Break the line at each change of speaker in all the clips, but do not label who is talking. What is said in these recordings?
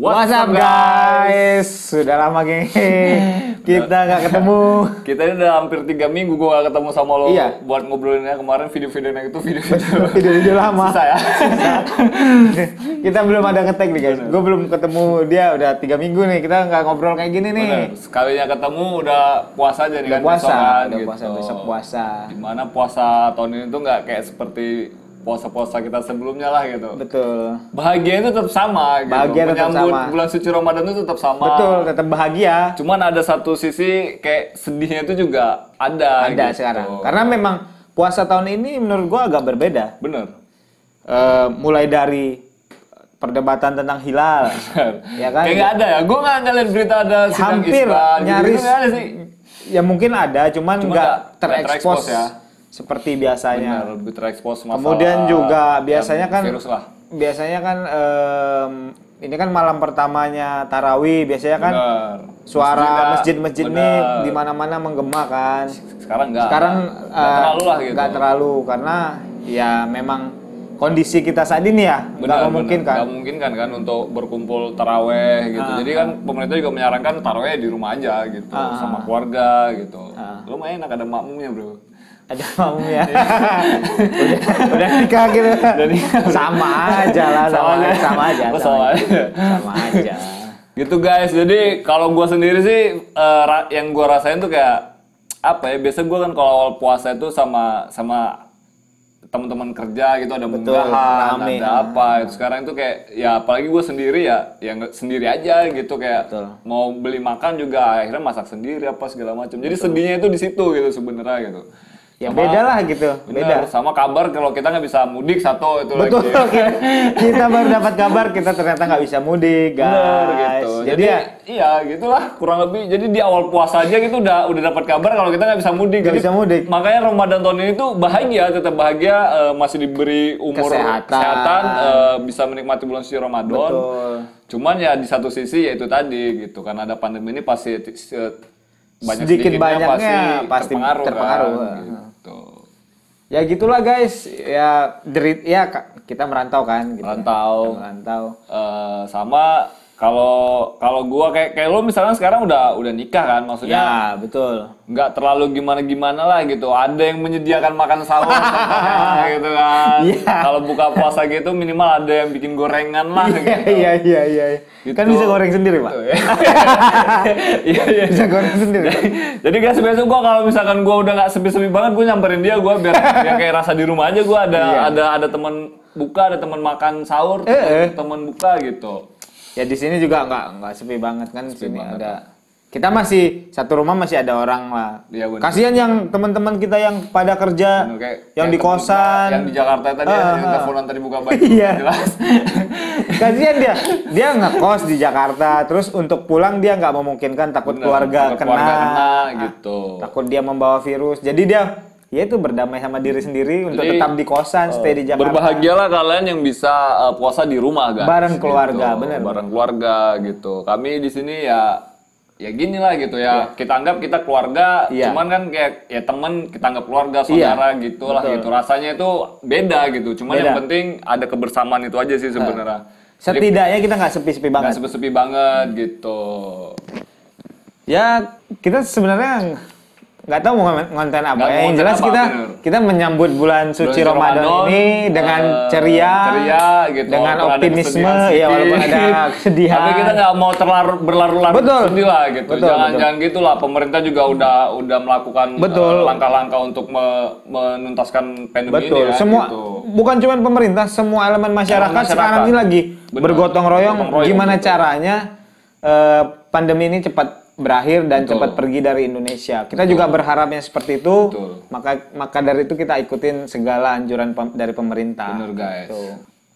What's up guys? Sudah lama geng, kita nggak ketemu.
Kita ini udah hampir tiga minggu gue gak ketemu sama lo
Iya.
buat ngobrolinnya kemarin video-video yang itu video-video
Video-video lama.
susah ya.
Kita belum ada ngetek nih guys. Gue belum ketemu dia udah tiga minggu nih. Kita nggak ngobrol kayak gini nih.
Bener. Sekalinya ketemu udah puasa jadi
Udah
kan
puasa,
besokan
udah
gitu.
puasa besok puasa.
Dimana puasa tahun ini tuh nggak kayak seperti puasa-puasa kita sebelumnya lah gitu.
Betul,
Bahagia itu tetap sama gitu.
Bahagia tetap
Menyambut
sama.
bulan suci Ramadan itu tetap sama.
betul. Tetap bahagia.
Cuman ada satu sisi kayak sedihnya itu juga ada.
Ada
gitu.
sekarang. Karena memang puasa tahun ini menurut gue agak berbeda.
Bener.
Eh, mulai dari perdebatan tentang hilal, ya kan?
Kayak nggak ada ya. Gue nggak ngeliat berita ada sidang
hampir
Isbat gitu.
nyaris
Itu nggak ada sih.
ya mungkin ada cuman
Cuma
nggak
nggak- nggak terekspos
terekspos
ya.
seperti biasanya
Benar, lebih terekspos masalah.
Iya. kemudian juga biasanya
yang
kan
virus lah.
biasanya kan em, ini kan malam pertamanya tarawih biasanya kan
Benar.
suara
Masjid nggak-
masjid-masjid
benar.
nih di mana-mana menggema kan
Sekarang nggak.
sekarang
nggak
eh,
terlalu lah gitu.
nggak terlalu karena ya memang kondisi kita saat ini ya nggak memungkinkan Ah,
Nggak memungkinkan kan untuk berkumpul taraweh gitu. Jadi kan pemerintah juga menyarankan taraweh di rumah aja gitu
Ah,
sama keluarga gitu. Lumayan enak ada makmumnya, Bro.
ada kamu ya udah, udah nikah gitu sama aja lah sama,
Sama aja.
sama aja
Oh,
sama
sama
aja
aja.
sama aja
Gitu guys. Jadi kalau gua sendiri sih eh, ra- yang gua rasain tuh kayak apa ya? Biasa gua kan kalau awal puasa itu sama sama teman-teman kerja gitu ada munggahan,
rame. Ah.
ada apa. Itu sekarang itu kayak ya apalagi gua sendiri ya yang sendiri aja gitu kayak
Betul.
mau beli makan juga akhirnya masak sendiri apa segala macam. Jadi sedihnya itu di situ gitu sebenarnya gitu.
ya beda lah gitu
Bener,
beda
sama kabar kalau kita nggak bisa mudik satu itu
betul
lagi.
kita, kita baru dapat kabar kita ternyata nggak bisa mudik guys
Bener gitu.
jadi,
Jadi,
ya
iya gitulah kurang lebih. Jadi di awal puasa aja gitu udah udah dapat kabar kalau kita nggak bisa mudik.
Nggak
Jadi,
bisa mudik.
Makanya Ramadan tahun ini tuh bahagia, tetap bahagia eh, masih diberi umur
Kesehatan.
eh, bisa menikmati bulan suci Ramadan.
Betul.
Cuman ya di satu sisi ya itu tadi gitu karena ada pandemi ini pasti eh, banyak sedikitnya
Sedikit banyaknya pasti
terpengaruh, kan,
terpengaruh.
gitu.
ya gitulah guys ya derit ya ka- kita merantau kan gitu.
Rantau.
Kita merantau
Eh, sama kalau kalau gua kayak kayak lo misalnya sekarang udah udah nikah kan maksudnya
ya betul
nggak terlalu gimana-gimana lah gitu. Ada yang menyediakan makan sahur contohnya, gitu kan.
Iya.
Kalau buka puasa gitu minimal ada yang bikin gorengan lah
iya
gitu.
iya iya iya kan
Gitu.
bisa goreng sendiri pak
Iya, iya.
bisa goreng sendiri
Jadi guys besok gua kalau misalkan gua udah nggak sepi-sepi banget gua nyamperin dia gua biar biar kayak rasa di rumah aja gua ada ada ada teman buka, ada teman makan sahur,
Iya. Eh, eh.
teman buka gitu.
Ya di sini juga nggak nggak sepi banget kan sini ada. Kita masih satu rumah masih ada orang lah.
Iya, benar.
Kasihan yang teman-teman kita yang pada kerja,
Kayak-
Ah, yang
kayak
di
temen gua yang
kosan.
di Jakarta tadi ya,
Ah,
yang
ah.
teleponan tadi buka baju
Iya.
jelas.
Kasihan dia, dia ngekos di Jakarta, terus untuk pulang dia nggak memungkinkan takut keluarga
Kalau
kena,
keluarga kena gitu.
takut dia membawa virus. Jadi dia ya itu berdamai sama diri sendiri untuk
Jadi, eh,
tetap di kosan, stay di Jakarta.
Berbahagialah kalian yang bisa uh, puasa di rumah, guys. Gitu.
Bareng keluarga, bener.
Bareng keluarga gitu. Kami di sini ya ya gini lah gitu ya. Kita anggap kita keluarga,
Iya.
cuman kan kayak ya teman kita anggap keluarga, saudara gitu lah gitu. Rasanya itu beda gitu. Cuman yang
Beda.
penting ada kebersamaan itu aja sih sebenarnya.
Setidaknya kita nggak sepi-sepi
Nggak
banget.
sepi-sepi banget gitu.
Ya kita sebenarnya nggak tahu mau ngon- konten
Nggak
apa. ya.
mau
Yang
konten
jelas
apa,
kita
bener.
kita menyambut bulan suci
Bulan
Ramadan, ini dengan
eh,
ceria,
ceria gitu,
dengan
walaupun ada
optimisme,
kesedihan
ya
sedikit.
walaupun ada kesedihan.
Tapi kita ya, nggak mau terlalu berlarut-larut
Betul.
sedih lah gitu.
Betul,
jangan
betul.
jangan gitulah. Pemerintah juga udah udah melakukan eh,
Betul.
langkah-langkah untuk me- menuntaskan pandemi ini
Betul.
ya.
semua
gitu.
bukan cuma pemerintah, semua elemen masyarakat,
Elemen masyarakat.
sekarang ini lagi
Benar.
bergotong royong.
Bergotong royong,
Gimana
betul.
caranya eh, pandemi ini cepat berakhir dan
Betul.
cepat pergi dari Indonesia. Kita juga berharapnya seperti itu.
Betul.
Maka maka dari itu kita ikutin segala anjuran pem- dari pemerintah.
Bener guys.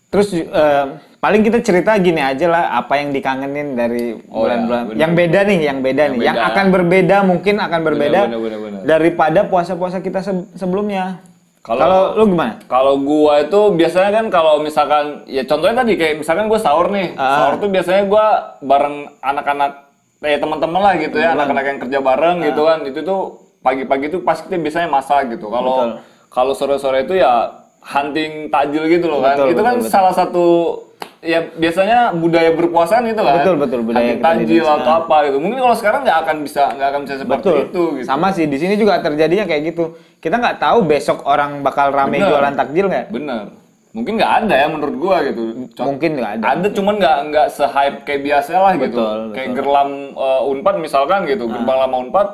Terus eh, paling kita cerita gini aja lah apa yang dikangenin dari
Oh,
bulan-bulan
ya, bener.
yang beda nih, yang beda nih, yang
beda.
akan berbeda mungkin akan berbeda
bener, bener, bener.
daripada puasa-puasa kita se- sebelumnya.
Kalau-
Kalau lu gimana?
Kalau gua itu biasanya kan kalau misalkan ya contohnya tadi kayak misalkan gua sahur nih.
Ah.
Sahur tuh biasanya gua bareng anak-anak eh teman-teman lah gitu ya, anak-anak yang kerja bareng
Ah.
gitu kan. Itu tuh pagi-pagi tuh pasti kita biasanya masak gitu. Kalau kalau sore-sore itu ya hunting tajil gitu loh kan.
Betul,
itu kan
betul, betul.
salah satu ya biasanya budaya berpuasa gitu kan.
Betul, betul, budaya
Ada
kita di
Tajil
Indonesia.
atau apa gitu. Mungkin kalau sekarang nggak akan bisa nggak akan bisa seperti
Betul.
itu gitu.
Sama sih di sini juga terjadinya kayak gitu. Kita nggak tahu besok orang bakal rame
Bener.
jualan takjil nggak?
Bener. Mungkin nggak ada ya menurut gua gitu. Contoh-
Mungkin nggak ada.
ada cuman nggak nggak se-hype kayak biasa lah gitu
Betul, Nah.
kayak gerlam eh, unpad misalkan gitu gerbang lama unpad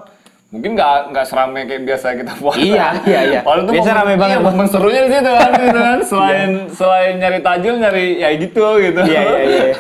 mungkin nggak nggak serame kayak biasa kita buat
Iya, iya, iya. Biasa rame
iya,
banget.
momen serunya di situ kan gitu kan selain selain nyari tajil nyari ya gitu gitu
Iya iya iya.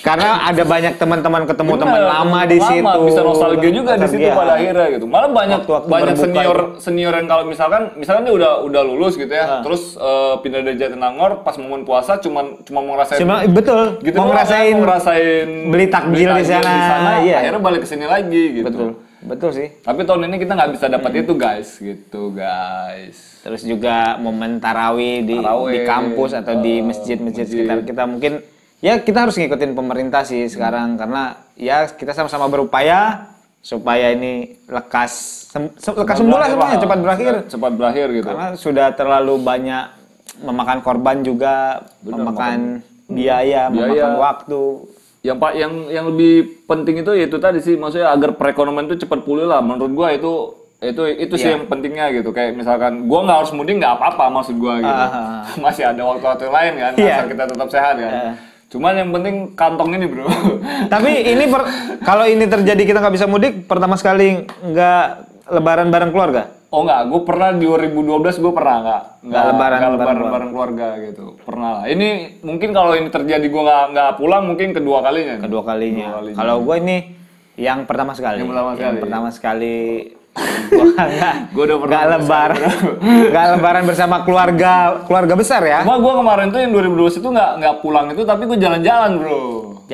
Karena ada banyak teman-teman ketemu
Bener,
teman lama di situ.
bisa nostalgia juga di situ
Nostalgia.
pada akhirnya gitu malah banyak
Waktu-waktu
banyak
berbuka gitu.
senior senior yang kalau misalkan misalkan dia udah udah lulus gitu
Ah.
ya terus eh, pindah dari Jatinangor pas momen puasa cuman cuma mau ngerasain
Cuma betul,
gitu
mau
doang,
ngerasain
mau ngerasain
beli takjil di sana, iya.
akhirnya balik ke sini lagi gitu
betul. Hmm. Betul sih.
tapi tahun ini kita nggak bisa dapat itu guys gitu guys
Terus juga momen tarawih di
Tarawih,
di kampus atau di masjid-masjid sekitar kita mungkin ya kita harus ngikutin pemerintah sih sekarang karena ya kita sama-sama berupaya supaya ini lekas sem- se- lekas sembuh lah semuanya cepat berakhir
cepat berakhir gitu
karena sudah terlalu banyak memakan korban juga memakan Hmm. biaya, memakan waktu
yang pak yang yang lebih penting itu yaitu tadi sih maksudnya agar perekonomian itu cepat pulih lah menurut gua itu itu itu
Iya.
sih yang pentingnya gitu kayak misalkan gua nggak harus mudik nggak apa-apa maksud gua gitu
Ah.
masih ada waktu-waktu lain kan
Iya.
asal kita tetap sehat kan cuman yang penting kantong ini bro
tapi ini per- kalau ini terjadi kita nggak bisa mudik pertama sekali nggak lebaran bareng keluarga
Oh enggak, gue pernah di 2012 gue pernah enggak
Nggak lebaran
enggak
bareng
lebaran bareng keluarga gitu. Pernah lah. Ini mungkin kalau ini terjadi gue nggak nggak pulang mungkin kedua kalinya.
kedua kalinya. Kalau gue ini yang pertama sekali.
Yang pertama sekali.
pertama sekali gua nggak
Gua udah pernah
nggak lebaran nggak lebaran bersama keluarga keluarga besar ya
Cuma gue kemarin tuh yang 2012 itu nggak nggak pulang itu tapi gue jalan-jalan bro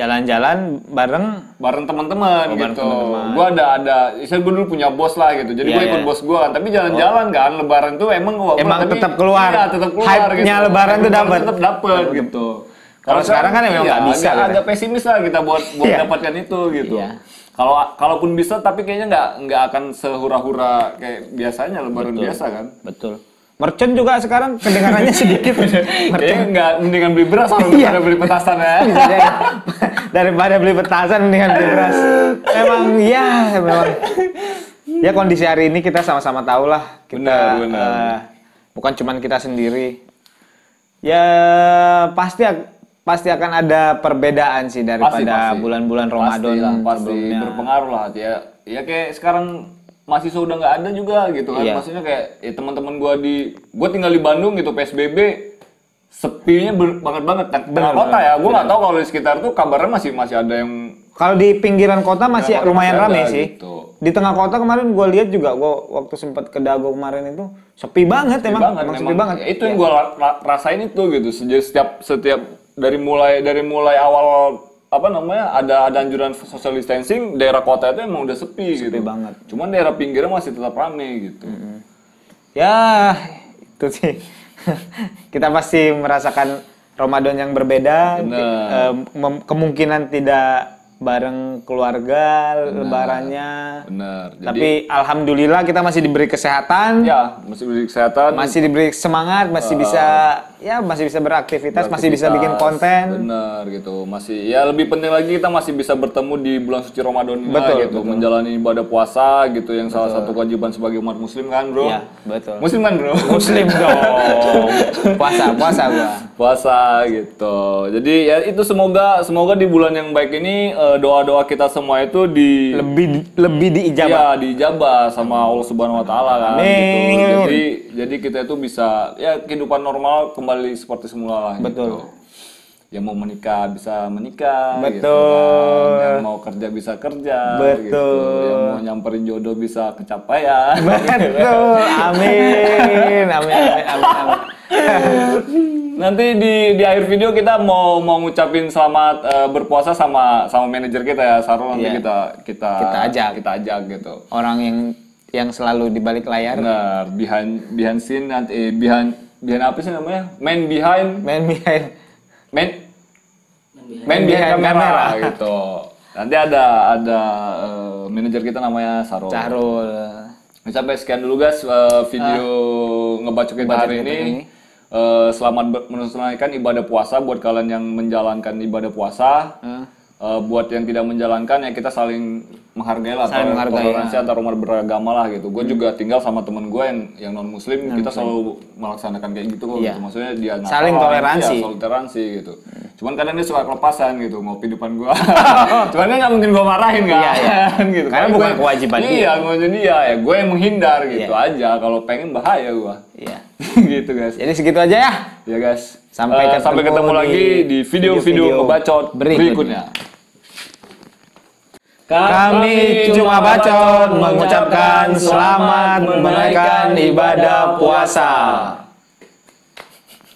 jalan-jalan bareng
bareng
Oh,
teman-teman gitu. Gue ada ada, saya gue dulu punya bos lah gitu. Jadi
Iya,
gue ikut
iya.
bos gue kan. Tapi jalan-jalan kan, lebaran tuh emang gue
Emang tetap keluar.
Iya tetap keluar.
Hype-nya lebaran tuh dapet.
Tetap dapet gitu. iya,
Kalau sekarang kan emang nggak bisa
Agak,
gitu.
agak pesimis lah kita buat buat
Iya.
dapatkan itu gitu.
Iya.
Kalau kalaupun bisa, tapi kayaknya nggak nggak akan sehura-hura kayak biasanya lebaran biasa kan.
betul mercon juga sekarang kedengarannya sedikit
Kayaknya nggak mendingan beli beras kalau
Iya.
daripada beli petasan ya.
Bisa jadi. daripada beli petasan mendingan beli beras emang ya memang ya kondisi hari ini kita sama-sama tahu lah kita
Benar, benar.
eh, bukan cuman kita sendiri ya pasti ak- pasti akan ada perbedaan sih daripada
pasti.
bulan-bulan Ramadan
Pasti lah, pasti
sebelumnya.
berpengaruh lah ya ya kayak sekarang mahasiswa udah nggak ada juga gitu kan
Iya.
maksudnya kayak ya teman-teman gua di gua tinggal di Bandung gitu psbb sepinya ber- banget banget Nah, tengah kota ya gua nggak tahu kalau di sekitar tuh kabarnya masih masih ada yang
Kalau di pinggiran kota masih
Pinggiran kota
lumayan
masih
rame
ada,
sih.
gitu.
Di tengah kota kemarin gue lihat juga gue waktu sempat ke Dago kemarin itu sepi banget emang,
banget
emang sepi
memang.
banget. Iya.
Ya, itu yang gua ra- ra- rasain itu gitu sejak setiap setiap dari mulai dari mulai awal apa namanya ada ada anjuran social distancing daerah kota itu emang udah sepi, gitu
banget. Hmm.
cuman daerah pinggirnya masih tetap rame gitu
Ya, itu sih. Kita pasti merasakan Ramadan yang berbeda.
Bener.
Ki- eh, mem- kemungkinan tidak bareng keluarga lebarannya.
benar jadi
Tapi alhamdulillah kita masih diberi kesehatan,
Ya, masih beri kesehatan.
masih diberi semangat, masih bisa ya masih bisa beraktivitas, masih bisa bikin konten.
Bener gitu. Masih ya lebih penting lagi kita masih bisa bertemu di bulan suci Ramadan ini lah
Betul,
gitu, menjalani ibadah puasa gitu yang salah satu kewajiban sebagai umat muslim kan, Bro?
Iya, betul.
Muslim kan, Bro?
Muslim dong. puasa, puasa gua.
puasa gitu. Jadi ya itu semoga semoga di bulan yang baik ini eh, doa-doa kita semua itu di
Lebih lebih diijabah.
Iya dijabah sama Allah Subhanahu Wa Taala kan.
Amin.
Gitu. Jadi jadi kita itu bisa ya kehidupan normal kembali seperti semula lah.
Betul.
Gitu. Yang mau menikah bisa menikah. gitu
Betul.
kan. Yang mau kerja bisa kerja. Gitu.
Betul.
Yang mau nyamperin jodoh bisa kecapaian.
Betul. Amin. Amin. Amin. amin, amin.
Nanti di di akhir video kita mau mau ngucapin selamat eh, berpuasa sama sama manajer kita ya Sarul nanti
Iya.
kita kita
Kita ajak.
kita ajak gitu.
orang yang yang selalu di balik layar
Benar, behind behind scene nanti eh, behind behind apa sih namanya? Main behind
main behind
main main behind
behind
kamera,
kamera.
gitu. Nanti ada ada eh, manajer kita namanya Saro.
Cahrul Ah.
Sampai sekian dulu guys eh, video ngebacokin hari ini. eh, selamat ber- menunaikan ibadah puasa buat kalian yang menjalankan ibadah puasa.
Ah.
Eh, buat yang tidak menjalankan ya kita saling menghargai lah tol-
Saling menghargai, ah. Hmm.
toleransi antar umat beragama lah gitu. Gue juga tinggal sama temen gue yang yang non muslim kita selalu melaksanakan kayak gitu kok.
Iya.
gitu. Maksudnya dia Natalan,
Saling toleransi.
iya, saling toleransi gitu. Cuman kadang dia suka kelepasan gitu ngopi depan gua. Cuman kan nggak mungkin gua marahin kan.
Iya, iya.
gitu.
Karena bukan
gua-
kewajiban
iya,
dia.
Iya, kewajiban dia ya. Gue yang menghindar gitu aja. Kalau pengen bahaya gua.
Iya.
gitu guys.
Jadi segitu aja ya.
Ya guys.
Sampai
Eh,
ketemu
sampai ketemu
di-
lagi di video-video
video-video
ngebacot
berikutnya.
berikutnya.
Kami cuma bacot mengucapkan selamat menunaikan ibadah puasa.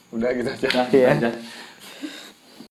Udah gitu aja.
Iya.
Aja.